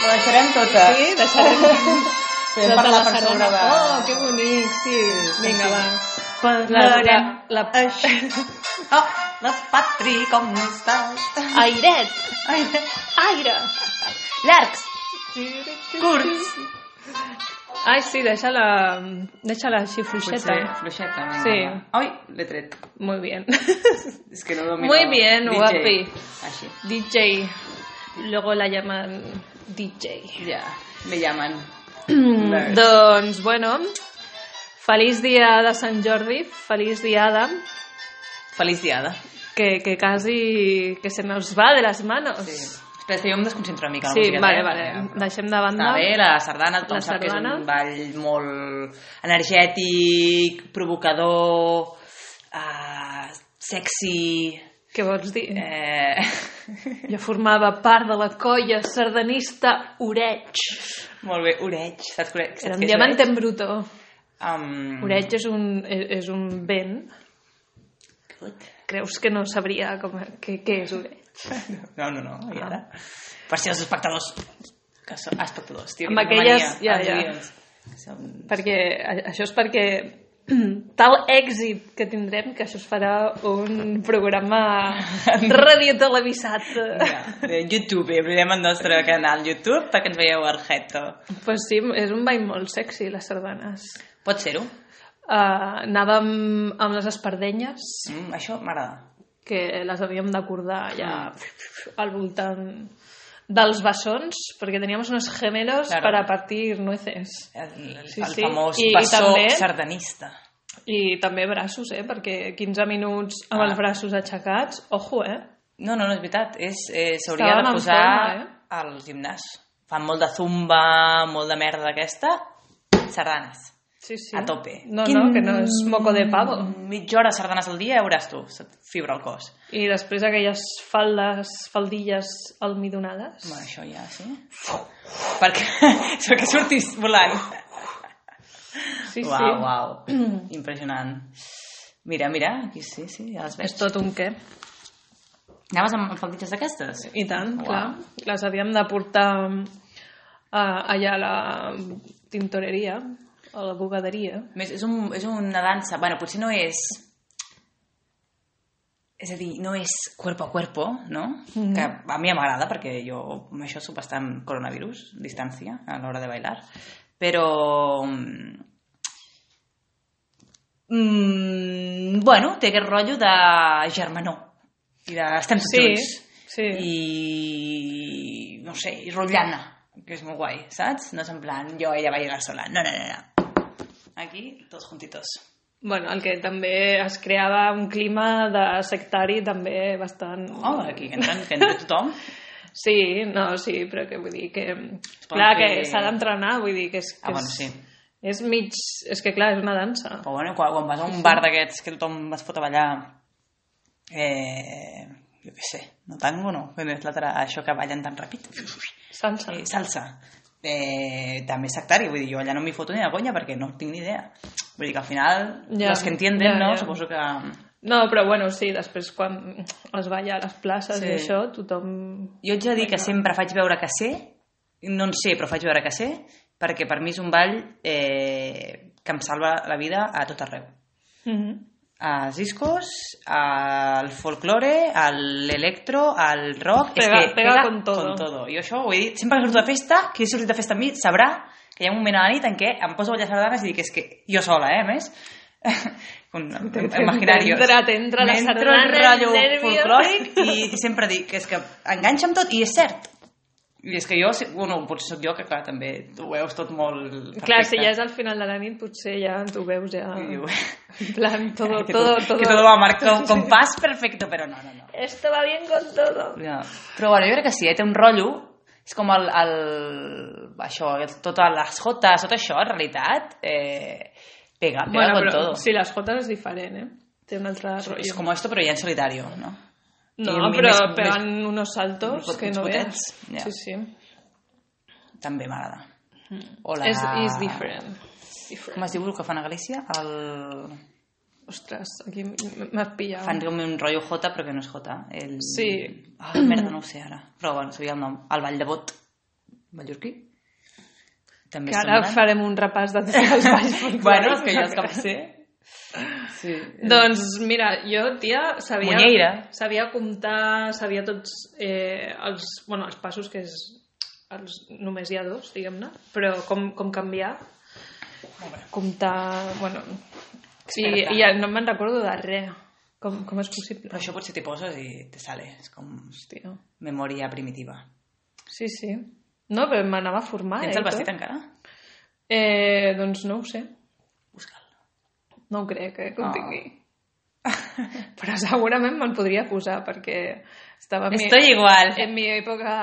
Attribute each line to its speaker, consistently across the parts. Speaker 1: Ho deixarem tot a...
Speaker 2: Sí, deixarem
Speaker 1: Podem
Speaker 2: tota
Speaker 1: parlar
Speaker 2: la
Speaker 1: per
Speaker 2: sardana.
Speaker 1: sobre de...
Speaker 2: Oh, que bonic, sí. Vinga,
Speaker 1: sí.
Speaker 2: va.
Speaker 1: Parlarem
Speaker 3: la, la,
Speaker 1: Oh, la Patri, com estàs?
Speaker 3: airet, aire, llargs, curts.
Speaker 2: Ai, sí, deixa-la deixa la així fluixeta.
Speaker 1: Potser Fluixeta, vinga.
Speaker 2: Sí.
Speaker 1: eh, va. Ai, l'he tret.
Speaker 2: Muy bien.
Speaker 1: Es que no domino.
Speaker 2: Muy bien,
Speaker 1: DJ.
Speaker 2: guapi.
Speaker 1: Així.
Speaker 2: DJ. Luego la llaman DJ.
Speaker 1: Ja, me llaman. Nerd.
Speaker 2: doncs, bueno, feliç dia de Sant Jordi, feliç diada,
Speaker 1: Feliç diada.
Speaker 2: que, que quasi que se nos va de les manos.
Speaker 1: Sí. Espera, és que jo em desconcentro una mica. la
Speaker 2: Sí,
Speaker 1: musiqueta, eh?
Speaker 2: vale, vale. Deixem de
Speaker 1: Està
Speaker 2: banda.
Speaker 1: bé, la sardana, tothom
Speaker 2: La
Speaker 1: sap que és un
Speaker 2: sardana.
Speaker 1: ball molt energètic, provocador, uh, sexy...
Speaker 2: Què vols dir?
Speaker 1: Eh...
Speaker 2: Jo formava part de la colla sardanista Oreig.
Speaker 1: molt bé, oreig. Saps, que ore- saps
Speaker 2: Érem
Speaker 1: què és
Speaker 2: diamant
Speaker 1: oreig?
Speaker 2: en bruto.
Speaker 1: Um...
Speaker 2: Oreig és un, és, és un vent.
Speaker 1: Good.
Speaker 2: Creus que no sabria com, què, què és oreig?
Speaker 1: No, no, no, i ara?
Speaker 2: Ah.
Speaker 1: Per si els espectadors... Que són espectadors, tio.
Speaker 2: Amb
Speaker 1: quina
Speaker 2: aquelles-
Speaker 1: mania,
Speaker 2: ja, ja.
Speaker 1: audience. Que Som...
Speaker 2: Perquè a- això és perquè tal èxit que tindrem que això es farà un programa radiotelevisat.
Speaker 1: Ja, de YouTube, obrirem el nostre canal YouTube perquè ens veieu Arjeto.
Speaker 2: pues sí, és un ball molt sexy, les sardanes.
Speaker 1: Pot ser-ho?
Speaker 2: Uh, anàvem amb les espardenyes,
Speaker 1: Mm, això m'agrada.
Speaker 2: que les havíem d'acordar ja
Speaker 1: Mm.
Speaker 2: al voltant dels bessons, perquè teníem uns gemelos
Speaker 1: Claro.
Speaker 2: claro. para partir nueces.
Speaker 1: El, el,
Speaker 2: Sí,
Speaker 1: el
Speaker 2: sí.
Speaker 1: famós
Speaker 2: I- i
Speaker 1: bessó
Speaker 2: també-
Speaker 1: sardanista.
Speaker 2: I també braços, eh? Perquè 15 minuts amb
Speaker 1: Ah.
Speaker 2: els braços aixecats, ojo, eh?
Speaker 1: No, no, no és veritat. És, eh, S'hauria
Speaker 2: Estàvem
Speaker 1: de
Speaker 2: en
Speaker 1: posar
Speaker 2: forma, eh?
Speaker 1: al gimnàs. Fan molt de zumba, molt de merda d'aquesta. Sardanes.
Speaker 2: Sí, sí.
Speaker 1: A tope.
Speaker 2: No, no, que no és moco de pavo.
Speaker 1: Mm. Mitja hora sardanes al dia, ja veuràs tu. Se't fibra al cos.
Speaker 2: I després aquelles faldes, faldilles almidonades.
Speaker 1: Bueno, això ja, sí. perquè, perquè sortís volant.
Speaker 2: Sí,
Speaker 1: uau,
Speaker 2: sí.
Speaker 1: uau. Impressionant. Mira, mira, aquí sí, sí, ja les veig.
Speaker 2: És tot un què.
Speaker 1: Anaves amb amb faldilles d'aquestes?
Speaker 2: I tant,
Speaker 1: Uau.
Speaker 2: clar. Les havíem de portar a, allà a la tintoreria, a la bugaderia.
Speaker 1: Més, és, un, és una dansa... Bueno, potser no és... És a dir, no és cuerpo a cuerpo, no? Mm. Que a mi ja m'agrada, perquè jo amb això soc bastant coronavirus, distància, a l'hora de bailar. Però... Mm, bueno, té aquest rotllo de germanor. I de estem tots
Speaker 2: Sí,
Speaker 1: junts.
Speaker 2: sí.
Speaker 1: I... no sé, i rotllana, que és molt guai, saps? No és en plan, jo ella va llegar sola. No, no, no, no. Aquí, tots juntitos.
Speaker 2: Bueno, el que també es creava un clima de sectari també bastant...
Speaker 1: Oh, aquí, que entren, que entra tothom.
Speaker 2: Sí, no, sí, però que vull dir que...
Speaker 1: pot
Speaker 2: Clar, que
Speaker 1: fer-
Speaker 2: s'ha d'entrenar, vull dir que és... Que
Speaker 1: Ah, bueno,
Speaker 2: és-
Speaker 1: sí.
Speaker 2: És mig... És que clar, és una dansa.
Speaker 1: Però bueno, quan, quan vas a un bar d'aquests que tothom es fot a ballar... Eh, jo què sé, no tango, no? Bueno, és l'altre, això que ballen tan ràpid.
Speaker 2: Salsa.
Speaker 1: Eh, salsa. Eh, també sectari, vull dir, jo allà no m'hi foto ni de conya perquè no tinc ni idea. Vull dir que al final,
Speaker 2: Ja,
Speaker 1: ja, les que entienden,
Speaker 2: ja,
Speaker 1: ja, no? Ja.
Speaker 2: ja.
Speaker 1: Suposo que...
Speaker 2: No, però bueno, sí, després quan es balla a les places
Speaker 1: Sí.
Speaker 2: i això, tothom...
Speaker 1: Jo ets a dir que sempre faig veure que sé, no en sé, però faig veure que sé, perquè per mi és un ball eh, que em salva la vida a tot arreu.
Speaker 2: Mhm.
Speaker 1: a discos, al folklore, al electro, al rock...
Speaker 2: Pega-
Speaker 1: és que
Speaker 2: pega con todo.
Speaker 1: Con todo. Jo això ho he dit. Sempre que surto de festa, qui ha sortit de festa amb mi sabrà que hi ha un moment a la nit en què em poso a ballar sardanes i dic que és que jo sola, eh, a més. Con imaginarios.
Speaker 2: T'entra- t'entra la
Speaker 1: M'entra
Speaker 2: sardana,
Speaker 1: el rotllo
Speaker 2: nervios.
Speaker 1: folclòric i sempre dic que és que enganxa amb tot i és cert. I és que jo, sí- bueno, potser sóc jo que clar, també ho veus tot molt... Perfecte.
Speaker 2: Clar, si ja és al final de la nit, potser ja tu veus ja...
Speaker 1: I diu-
Speaker 2: En plan, todo,
Speaker 1: que todo,
Speaker 2: todo, todo...
Speaker 1: que todo va a marcar con compás perfecto, pero no, no, no.
Speaker 2: Esto va bien con todo.
Speaker 1: Ja. Però bueno, jo crec que sí, eh? té un rotllo, és com el, el... això, totes les jotes, tot això, en realitat, eh... pega, pega bueno, con todo.
Speaker 2: sí, les jotes és diferent, eh? Té un altre
Speaker 1: És
Speaker 2: rotllo.
Speaker 1: com esto, però ja en solitario, no?
Speaker 2: No,
Speaker 1: i
Speaker 2: però
Speaker 1: més-
Speaker 2: peguen unos saltos
Speaker 1: més
Speaker 2: que no veus.
Speaker 1: potents, ja.
Speaker 2: Sí, sí.
Speaker 1: També m'agrada. Hola.
Speaker 2: Mm. És is different.
Speaker 1: Com es diu el que fan a Galícia? El...
Speaker 2: Ostres, aquí m- m'has pillat.
Speaker 1: Fan com un rotllo jota, però que no és jota. El...
Speaker 2: Ah. Sí.
Speaker 1: Ah, merda, no ho sé ara. Però bueno, sabia el nom. El Vall de Bot. Mallorquí. També
Speaker 2: Que ara
Speaker 1: semblant.
Speaker 2: farem un repàs de tots els balls folclòrics.
Speaker 1: Bueno, és que jo els que va ser... Sí.
Speaker 2: Doncs mira, jo, tia, sabia...
Speaker 1: Munyeira.
Speaker 2: Sabia comptar, sabia tots eh, els, bueno, els passos, que és... Els, només hi ha dos, diguem-ne, però com, com canviar, comptar... Bueno, i,
Speaker 1: Experta.
Speaker 2: i no me'n recordo de res. Com, com és possible?
Speaker 1: Però això potser t'hi poses i eh, te sale. És com
Speaker 2: Hòstia.
Speaker 1: memòria primitiva.
Speaker 2: Sí, sí. No, però m'anava a formar.
Speaker 1: Tens
Speaker 2: eh,
Speaker 1: el
Speaker 2: i
Speaker 1: vestit
Speaker 2: tot.
Speaker 1: encara?
Speaker 2: Eh, doncs no ho sé.
Speaker 1: Busca'l.
Speaker 2: No ho crec, eh, que ho
Speaker 1: Oh.
Speaker 2: tingui. Però segurament me'n podria posar, perquè estava... en mi-
Speaker 1: Estoy igual.
Speaker 2: En mi época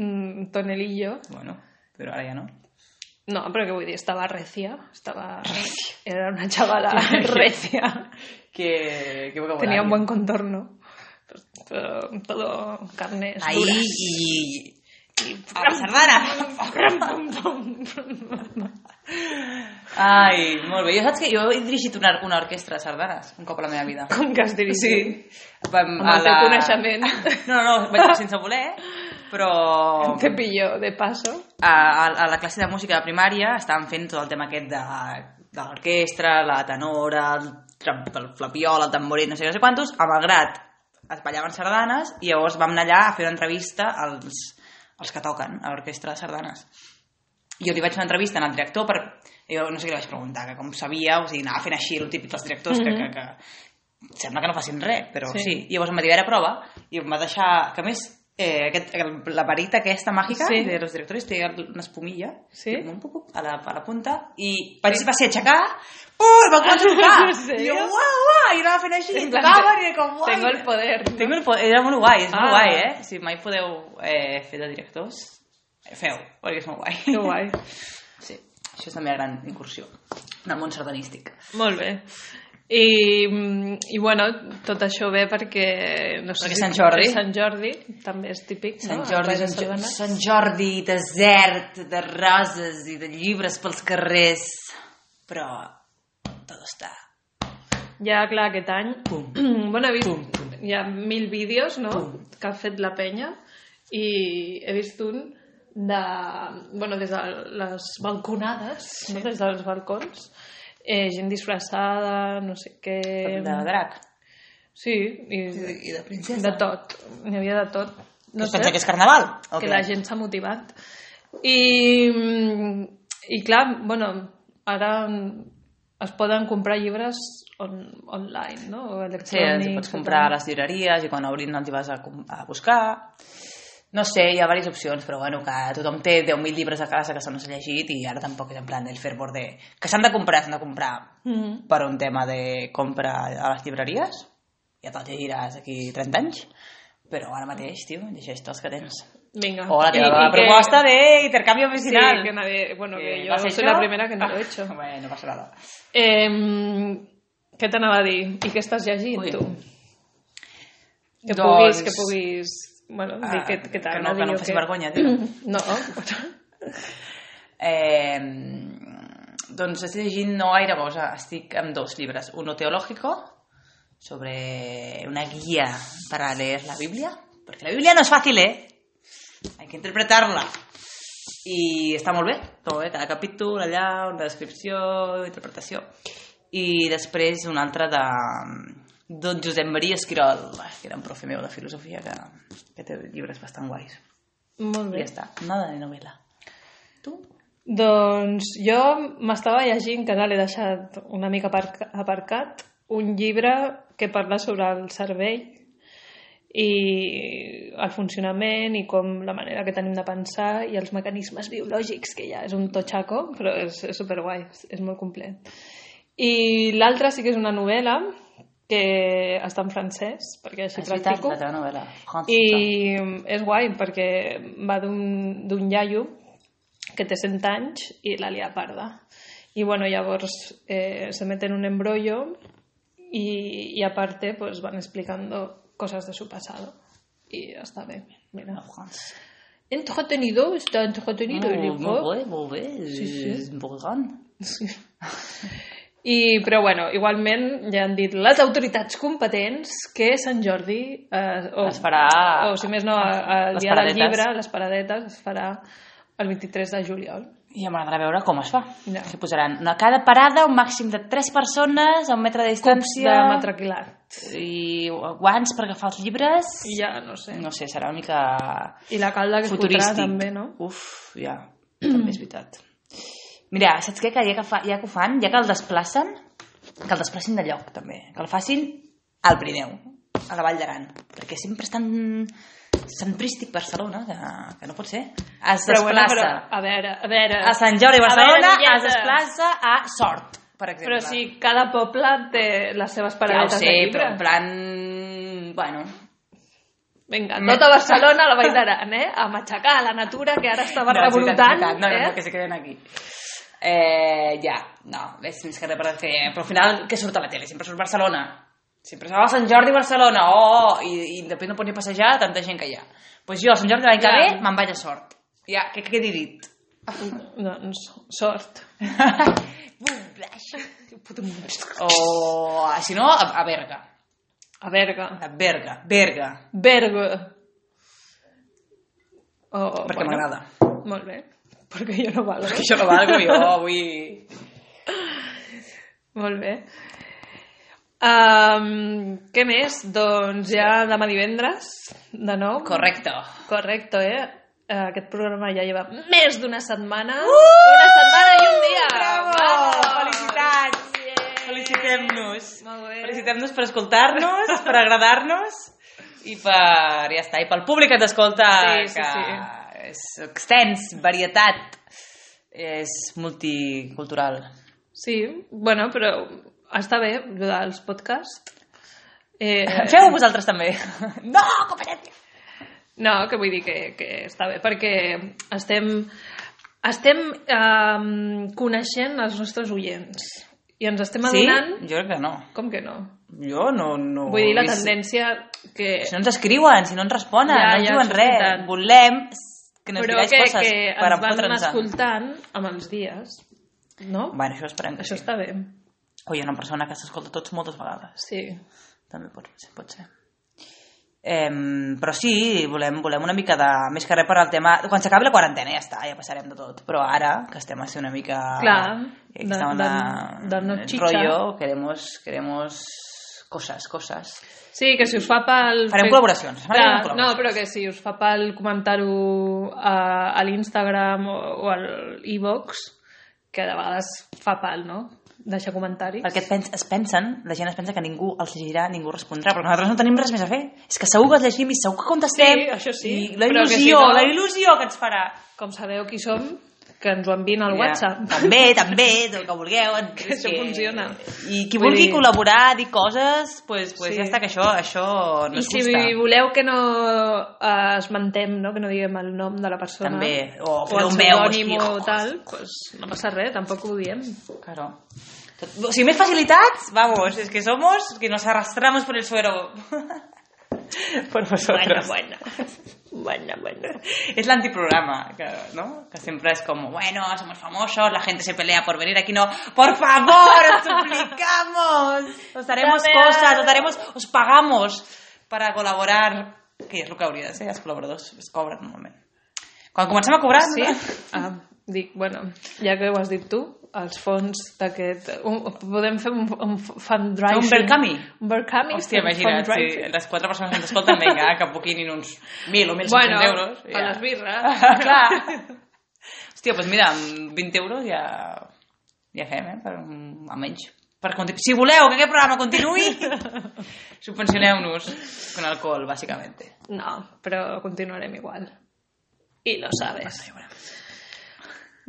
Speaker 2: mm, tonelillo.
Speaker 1: Bueno, però ara ja no.
Speaker 2: No, però què vull dir, estava recia, estava... Era una chavala recia.
Speaker 1: Que, que vocabulario.
Speaker 2: Tenía un buen contorno. Todo, todo carnes
Speaker 1: Ahí
Speaker 2: duras.
Speaker 1: y...
Speaker 2: Y-
Speaker 1: A la sardana! Ai, molt bé. Jo saps que jo he dirigit una, una orquestra de sardanes un cop a la meva vida.
Speaker 2: Com que has dirigit.
Speaker 1: Vam,
Speaker 2: Amb el teu coneixement.
Speaker 1: No, no, no, vaig sense voler, però... Oh.
Speaker 2: Te pillo de paso.
Speaker 1: A, a, a la classe de música de primària estàvem fent tot el tema aquest de, de l'orquestra, la tenora, el, tram- el flapiol, el tamborí, no sé, no sé quantos, a Belgrat es ballaven sardanes i llavors vam anar allà a fer una entrevista als, als que toquen a l'orquestra de sardanes jo li vaig fer una entrevista al director per... Jo no sé què li vaig preguntar, que com sabia, o sigui, anava fent així el típic dels directors, mm -hmm. que, que, que sembla que no facin res, però
Speaker 2: Sí.
Speaker 1: sí. sí. I llavors em va dir, a veure, prova, i em va deixar... Que a més, eh, aquest, el- la varita aquesta màgica
Speaker 2: Sí.
Speaker 1: sí. de los directores té una espumilla
Speaker 2: Sí.
Speaker 1: com un pup, pup, a, la, a la punta i vaig sí. passar a aixecar uh, va començar a tocar
Speaker 2: En sèrio?
Speaker 1: i jo, uau, uau, i anava fent així i
Speaker 2: En plan,
Speaker 1: tocaven i com, uau
Speaker 2: Tengo el poder. ¿no?
Speaker 1: Tengo el poder, era molt guai, és
Speaker 2: Ah.
Speaker 1: molt guai, eh? Si mai podeu eh, fer de directors, eh, feu, perquè és molt guai.
Speaker 2: Que guai.
Speaker 1: Sí, això és la meva gran incursió en el món sardanístic.
Speaker 2: Molt bé. I, mm, i bueno, tot això ve perquè... No sé
Speaker 1: Perquè Sant Jordi.
Speaker 2: Sant Jordi també és típic,
Speaker 1: Sant
Speaker 2: no?
Speaker 1: Jordi,
Speaker 2: El Vall de
Speaker 1: Sant, Jo-
Speaker 2: Sardana.
Speaker 1: Sant Jordi, desert, de roses i de llibres pels carrers, però tot està...
Speaker 2: Ja, clar, aquest any...
Speaker 1: Pum.
Speaker 2: bueno, he vist...
Speaker 1: Pum, pum.
Speaker 2: Hi ha mil vídeos, no?,
Speaker 1: Pum.
Speaker 2: que ha fet la penya i he vist un de... Bueno, des de les balconades, sí. no? des dels balcons, eh, gent disfressada, no sé què...
Speaker 1: De drac.
Speaker 2: Sí, i,
Speaker 1: I de princesa.
Speaker 2: de tot. N'hi havia de tot.
Speaker 1: No pensa que és carnaval? o
Speaker 2: que
Speaker 1: què?
Speaker 2: la gent s'ha motivat. I, mm, I clar, bueno, ara mm, es poden comprar llibres on, online, no?
Speaker 1: Sí,
Speaker 2: O
Speaker 1: els hi
Speaker 2: electrònics,
Speaker 1: pots
Speaker 2: o
Speaker 1: comprar a
Speaker 2: tal.
Speaker 1: les llibreries i quan obrin els hi vas a, com- a buscar. No sé, hi ha diverses opcions, però bueno, que tothom té 10.000 llibres a casa que se no s'ha llegit i ara tampoc és en plan del fervor de... Que s'han de comprar, s'han de comprar
Speaker 2: Mhm.
Speaker 1: per un tema de compra a les llibreries. Ja te'ls llegiràs aquí 30 anys. Però ara mateix, tio, llegeix-te els que tens.
Speaker 2: Vinga.
Speaker 1: O la
Speaker 2: I-
Speaker 1: teva
Speaker 2: i que-
Speaker 1: proposta de intercanvi
Speaker 2: Sí,
Speaker 1: oficinal.
Speaker 2: que nadie... Bueno, que
Speaker 1: Eh,
Speaker 2: yo
Speaker 1: ¿lo has
Speaker 2: soy
Speaker 1: hecho?
Speaker 2: la primera que no
Speaker 1: Ah.
Speaker 2: lo he hecho.
Speaker 1: Bueno, passa nada.
Speaker 2: Eh, què t'anava a dir? I què estàs llegint,
Speaker 1: Ui.
Speaker 2: tu? Que
Speaker 1: Doncs-
Speaker 2: puguis, que puguis... Bueno,
Speaker 1: Ah,
Speaker 2: dir què, què
Speaker 1: que
Speaker 2: t'agradi
Speaker 1: no, que no
Speaker 2: o
Speaker 1: em faci
Speaker 2: què.
Speaker 1: vergonya, tio.
Speaker 2: No,
Speaker 1: Eh, doncs estic llegint no gaire cosa, estic amb dos llibres. Uno teológico, sobre una guia para leer la Biblia, perquè la Biblia no és fàcil, eh? Hay que interpretar-la. I està molt bé, tot bé, cada capítol allà, una descripció, interpretació. I després un altre de Don Josep Maria Esquirol, que era un profe meu de filosofia que, que té llibres bastant guais.
Speaker 2: molt
Speaker 1: I
Speaker 2: bé.
Speaker 1: ja està, nada de novel·la. Tu?
Speaker 2: Doncs jo m'estava llegint, que ara l'he deixat una mica aparca- aparcat, un llibre que parla sobre el cervell i el funcionament i com la manera que tenim de pensar i els mecanismes biològics, que ja és un totxaco, però és, és superguai, és, és molt complet. I l'altra sí que és una novel·la que està en francès, perquè així
Speaker 1: És veritat,
Speaker 2: practico.
Speaker 1: Ah, la teva novel·la.
Speaker 2: I és guai perquè va d'un d'un iaio que té 100 anys i la lia parda. I bueno, llavors eh, se mete en un embrollo y, y aparte pues van explicando cosas de su pasado. Y està bé, mira. Entretenido, está entretenido el
Speaker 1: Molt,
Speaker 2: libro. euh,
Speaker 1: molt bé, molt bé.
Speaker 2: Sí, sí.
Speaker 1: És important.
Speaker 2: Sí. I, però bueno, igualment ja han dit les autoritats competents que Sant Jordi eh, o,
Speaker 1: Es farà-
Speaker 2: o si més no a- el
Speaker 1: Les
Speaker 2: dia del
Speaker 1: paradetes.
Speaker 2: llibre, les paradetes es farà el 23 de juliol
Speaker 1: I ja m'agradarà veure com es fa.
Speaker 2: Ja.
Speaker 1: Que posaran una, a cada parada un màxim de 3 persones a un metre de
Speaker 2: de
Speaker 1: distància
Speaker 2: matraquilat
Speaker 1: i guants per agafar els llibres.
Speaker 2: i ja no sé
Speaker 1: No sé, serà una mica
Speaker 2: i la calda que es fotrà
Speaker 1: futurístic.
Speaker 2: també, no?
Speaker 1: Uf, ja, també és veritat. Mira, saps què? Que ja que, fa, ja que ho fan, ja que el desplacen, que el desplacin de lloc, també. Que el facin al Pirineu, a la Vall d'Aran. Perquè sempre és tan centrístic Barcelona que, que no pot ser. Es
Speaker 2: Però bueno,
Speaker 1: desplaça
Speaker 2: però, a veure, a veure
Speaker 1: a Sant Jordi
Speaker 2: a
Speaker 1: Barcelona,
Speaker 2: veure,
Speaker 1: es desplaça a Sort, per exemple.
Speaker 2: però si cada poble té les seves
Speaker 1: Ja ho
Speaker 2: paradetes
Speaker 1: sé,
Speaker 2: de
Speaker 1: però
Speaker 2: llibre
Speaker 1: en plan... Bueno,
Speaker 2: Vinga,
Speaker 1: Me-
Speaker 2: tota Barcelona a la Vall d'Aran, eh? A matxacar a la natura que ara estava
Speaker 1: és veritat,
Speaker 2: revoltant,
Speaker 1: és veritat. No, no,
Speaker 2: eh?
Speaker 1: no, que se queden aquí. Eh, ja, no, és més que res per que... Però al final, què surt a la tele? Sempre surt Barcelona. Sempre surt oh, Sant Jordi, Barcelona, oh, oh, i, i després no pots ni passejar tanta gent que hi ha. Doncs pues jo, a Sant Jordi l'any que
Speaker 2: Ja.
Speaker 1: ve, me'n vaig a sort. Ja, què què he dit?
Speaker 2: Doncs sort.
Speaker 1: Bum, blaix. o, ah, si no, a, a Berga.
Speaker 2: A Berga.
Speaker 1: A Berga, Berga,
Speaker 2: Berga. Oh,
Speaker 1: perquè m'agrada.
Speaker 2: Molt bé. Perquè jo no valgo.
Speaker 1: Que això no valgo jo, avui...
Speaker 2: Molt bé. Um, què més? Doncs ja demà divendres, de nou.
Speaker 1: Correcto.
Speaker 2: Correcto, eh? Eh, Aquest programa ja lleva més d'una setmana. una setmana i un dia!
Speaker 1: Uh! Bravo!
Speaker 2: Vamos!
Speaker 1: Felicitats!
Speaker 2: Yeah!
Speaker 1: Felicitem-nos.
Speaker 2: Molt bé.
Speaker 1: Felicitem-nos per escoltar-nos, per agradar-nos i per, ja està, i pel públic que t'escolta,
Speaker 2: Sí, sí,
Speaker 1: que
Speaker 2: sí.
Speaker 1: és extens, varietat, és multicultural.
Speaker 2: Sí, bueno, però està bé, allò dels podcasts. Eh,
Speaker 1: Feu-ho vosaltres també. No, competència!
Speaker 2: no, que vull dir que, que està bé, perquè estem, estem eh, coneixent els nostres oients i ens estem
Speaker 1: Sí?
Speaker 2: adonant...
Speaker 1: Jo crec que no.
Speaker 2: Com que no?
Speaker 1: Jo no... no
Speaker 2: Vull dir, la
Speaker 1: és-
Speaker 2: tendència que...
Speaker 1: Si no ens escriuen, si no ens responen,
Speaker 2: Ja,
Speaker 1: no ens
Speaker 2: ja,
Speaker 1: diuen
Speaker 2: això és
Speaker 1: res.
Speaker 2: veritat.
Speaker 1: Volem que ens
Speaker 2: Però
Speaker 1: digueu
Speaker 2: que,
Speaker 1: coses
Speaker 2: que
Speaker 1: per
Speaker 2: ens van
Speaker 1: empotre'ns-en.
Speaker 2: escoltant amb els dies, no?
Speaker 1: Bueno, això esperem que
Speaker 2: Això
Speaker 1: sí.
Speaker 2: està bé,
Speaker 1: O hi ha una persona que s'escolta tots moltes vegades.
Speaker 2: sí.
Speaker 1: També pot ser. Pot ser. Em, però sí, volem, volem una mica de... Més que res per al tema... Quan s'acabi la quarantena ja està, ja passarem de tot. Però ara, que estem així una mica... eh,
Speaker 2: Clar,
Speaker 1: Que
Speaker 2: de-
Speaker 1: estàvem
Speaker 2: de- de no
Speaker 1: en el
Speaker 2: chicha.
Speaker 1: rotllo, queremos, queremos coses, coses.
Speaker 2: Sí, que si us fa pel...
Speaker 1: Farem col·laboracions, farem
Speaker 2: Clar, no,
Speaker 1: col·laboracions.
Speaker 2: però que si us fa pel comentar-ho a, a l'Instagram o, o al e-box, que de vegades fa pal, no? Deixar comentaris.
Speaker 1: Perquè et pens, es pensen, la gent es pensa que ningú els llegirà, ningú respondrà, però nosaltres no tenim res més a fer. És que segur que els llegim i segur que contestem.
Speaker 2: Sí, això sí.
Speaker 1: I la
Speaker 2: Però que
Speaker 1: il·lusió,
Speaker 2: si no-
Speaker 1: la il·lusió que ens farà.
Speaker 2: Com sabeu qui som, que ens ho envien al WhatsApp.
Speaker 1: També, també, del que vulgueu. en-
Speaker 2: Que això funciona.
Speaker 1: I qui
Speaker 2: Vull
Speaker 1: vulgui
Speaker 2: dir-
Speaker 1: col·laborar, dir coses, doncs pues, pues
Speaker 2: Sí.
Speaker 1: ja està, que això, això no
Speaker 2: I
Speaker 1: es
Speaker 2: si
Speaker 1: gusta.
Speaker 2: voleu que no eh, esmentem, no? que no diguem el nom de la persona,
Speaker 1: També, o
Speaker 2: o
Speaker 1: fer
Speaker 2: el
Speaker 1: un veu,
Speaker 2: pseudònim
Speaker 1: hosti,
Speaker 2: o
Speaker 1: oh,
Speaker 2: tal, pues, no passa res, tampoc ho diem.
Speaker 1: Claro. Tot- O sigui, més facilitats, vamos, es que somos, que nos arrastramos por el suero. por vosotros.
Speaker 2: Bueno, bueno. Bueno, bueno.
Speaker 1: Es el antiprograma, claro, ¿no? Que siempre es como, bueno, somos famosos, la gente se pelea por venir aquí. No, por favor, os suplicamos. Os daremos
Speaker 2: Dame
Speaker 1: cosas,
Speaker 2: algo.
Speaker 1: os daremos, os pagamos para colaborar. Que es lo que hauria de ser, els col·laboradors es cobren normalment. Quan comencem a cobrar,
Speaker 2: Sí? Ah, dic, bueno, ja que ho has dit tu, els fons d'aquest... un- Podem fer un, un
Speaker 1: Fer
Speaker 2: fundraising.
Speaker 1: un Berkami?
Speaker 2: Un Berkami.
Speaker 1: Hòstia,
Speaker 2: fer un
Speaker 1: imagina't, si
Speaker 2: fundraising.
Speaker 1: les quatre persones que ens escolten, vinga, que poquinin uns 1.000 o 1.500
Speaker 2: Bueno,
Speaker 1: euros.
Speaker 2: a les birres.
Speaker 1: Clar. Hòstia, doncs mira, amb 20 euros ja, ja fem, eh? Per, un- almenys. Per, conti- si voleu que aquest programa continuï, subvencioneu-nos con alcohol, bàsicament.
Speaker 2: No, però continuarem igual. I lo sabes.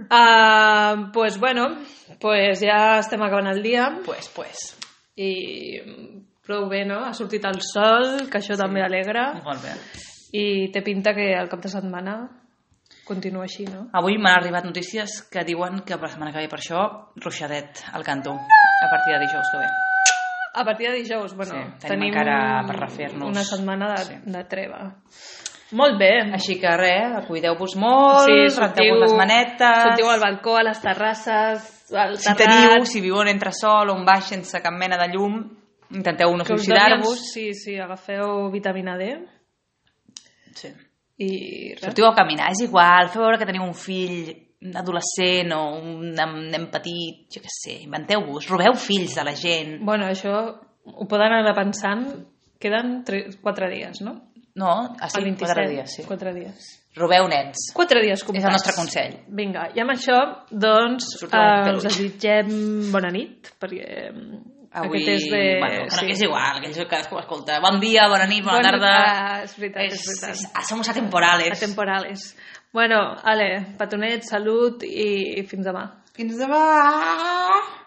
Speaker 2: Ah, pues bueno, pues ja estem acabant el dia
Speaker 1: Pues, pues.
Speaker 2: i prou bé, no? Ha sortit el sol, que això també alegra
Speaker 1: Molt bé.
Speaker 2: i té pinta que el cap de setmana continua així, no?
Speaker 1: Avui m'han arribat notícies que diuen que per la setmana que ve per això, ruixadet al cantó, a partir de dijous que ve.
Speaker 2: A partir de dijous, bueno,
Speaker 1: Sí, tenim
Speaker 2: tenim,
Speaker 1: encara per refer-nos.
Speaker 2: una setmana de,
Speaker 1: Sí.
Speaker 2: de treva. Molt bé.
Speaker 1: Així que res, cuideu-vos molt,
Speaker 2: Sí,
Speaker 1: renteu-vos les manetes...
Speaker 2: sortiu al balcó, a les terrasses, al
Speaker 1: Si teniu, si viu en entresol o un baix sense cap mena de llum, intenteu no
Speaker 2: que us doni els-
Speaker 1: suïcidar-vos.
Speaker 2: Sí, sí, agafeu vitamina D
Speaker 1: Sí.
Speaker 2: i res.
Speaker 1: Sortiu a caminar, és igual, feu veure que teniu un fill un adolescent o un nen nen petit, jo què sé, inventeu-vos, robeu fills de la gent.
Speaker 2: Bueno, això ho poden anar pensant. Queden 3, 4 dies, no?
Speaker 1: No, així,
Speaker 2: El 27,
Speaker 1: quatre dies, Ah, sí.
Speaker 2: 4 dies.
Speaker 1: Robeu nens.
Speaker 2: 4 dies
Speaker 1: És
Speaker 2: comptats.
Speaker 1: el nostre consell.
Speaker 2: Vinga, i amb això, doncs,
Speaker 1: Surto un
Speaker 2: eh, us
Speaker 1: peluix.
Speaker 2: desitgem bona nit, perquè mm,
Speaker 1: Avui,
Speaker 2: aquest és de...
Speaker 1: bueno, sí. és igual, que ells cadascú escolta. Bon dia, bona nit, bona,
Speaker 2: Bona-
Speaker 1: tarda.
Speaker 2: Ah, és veritat, és,
Speaker 1: és,
Speaker 2: veritat.
Speaker 1: és, ah, som atemporales.
Speaker 2: Atemporales. Bueno, ale, petonets, salut i fins demà. Ah!
Speaker 1: Fins demà!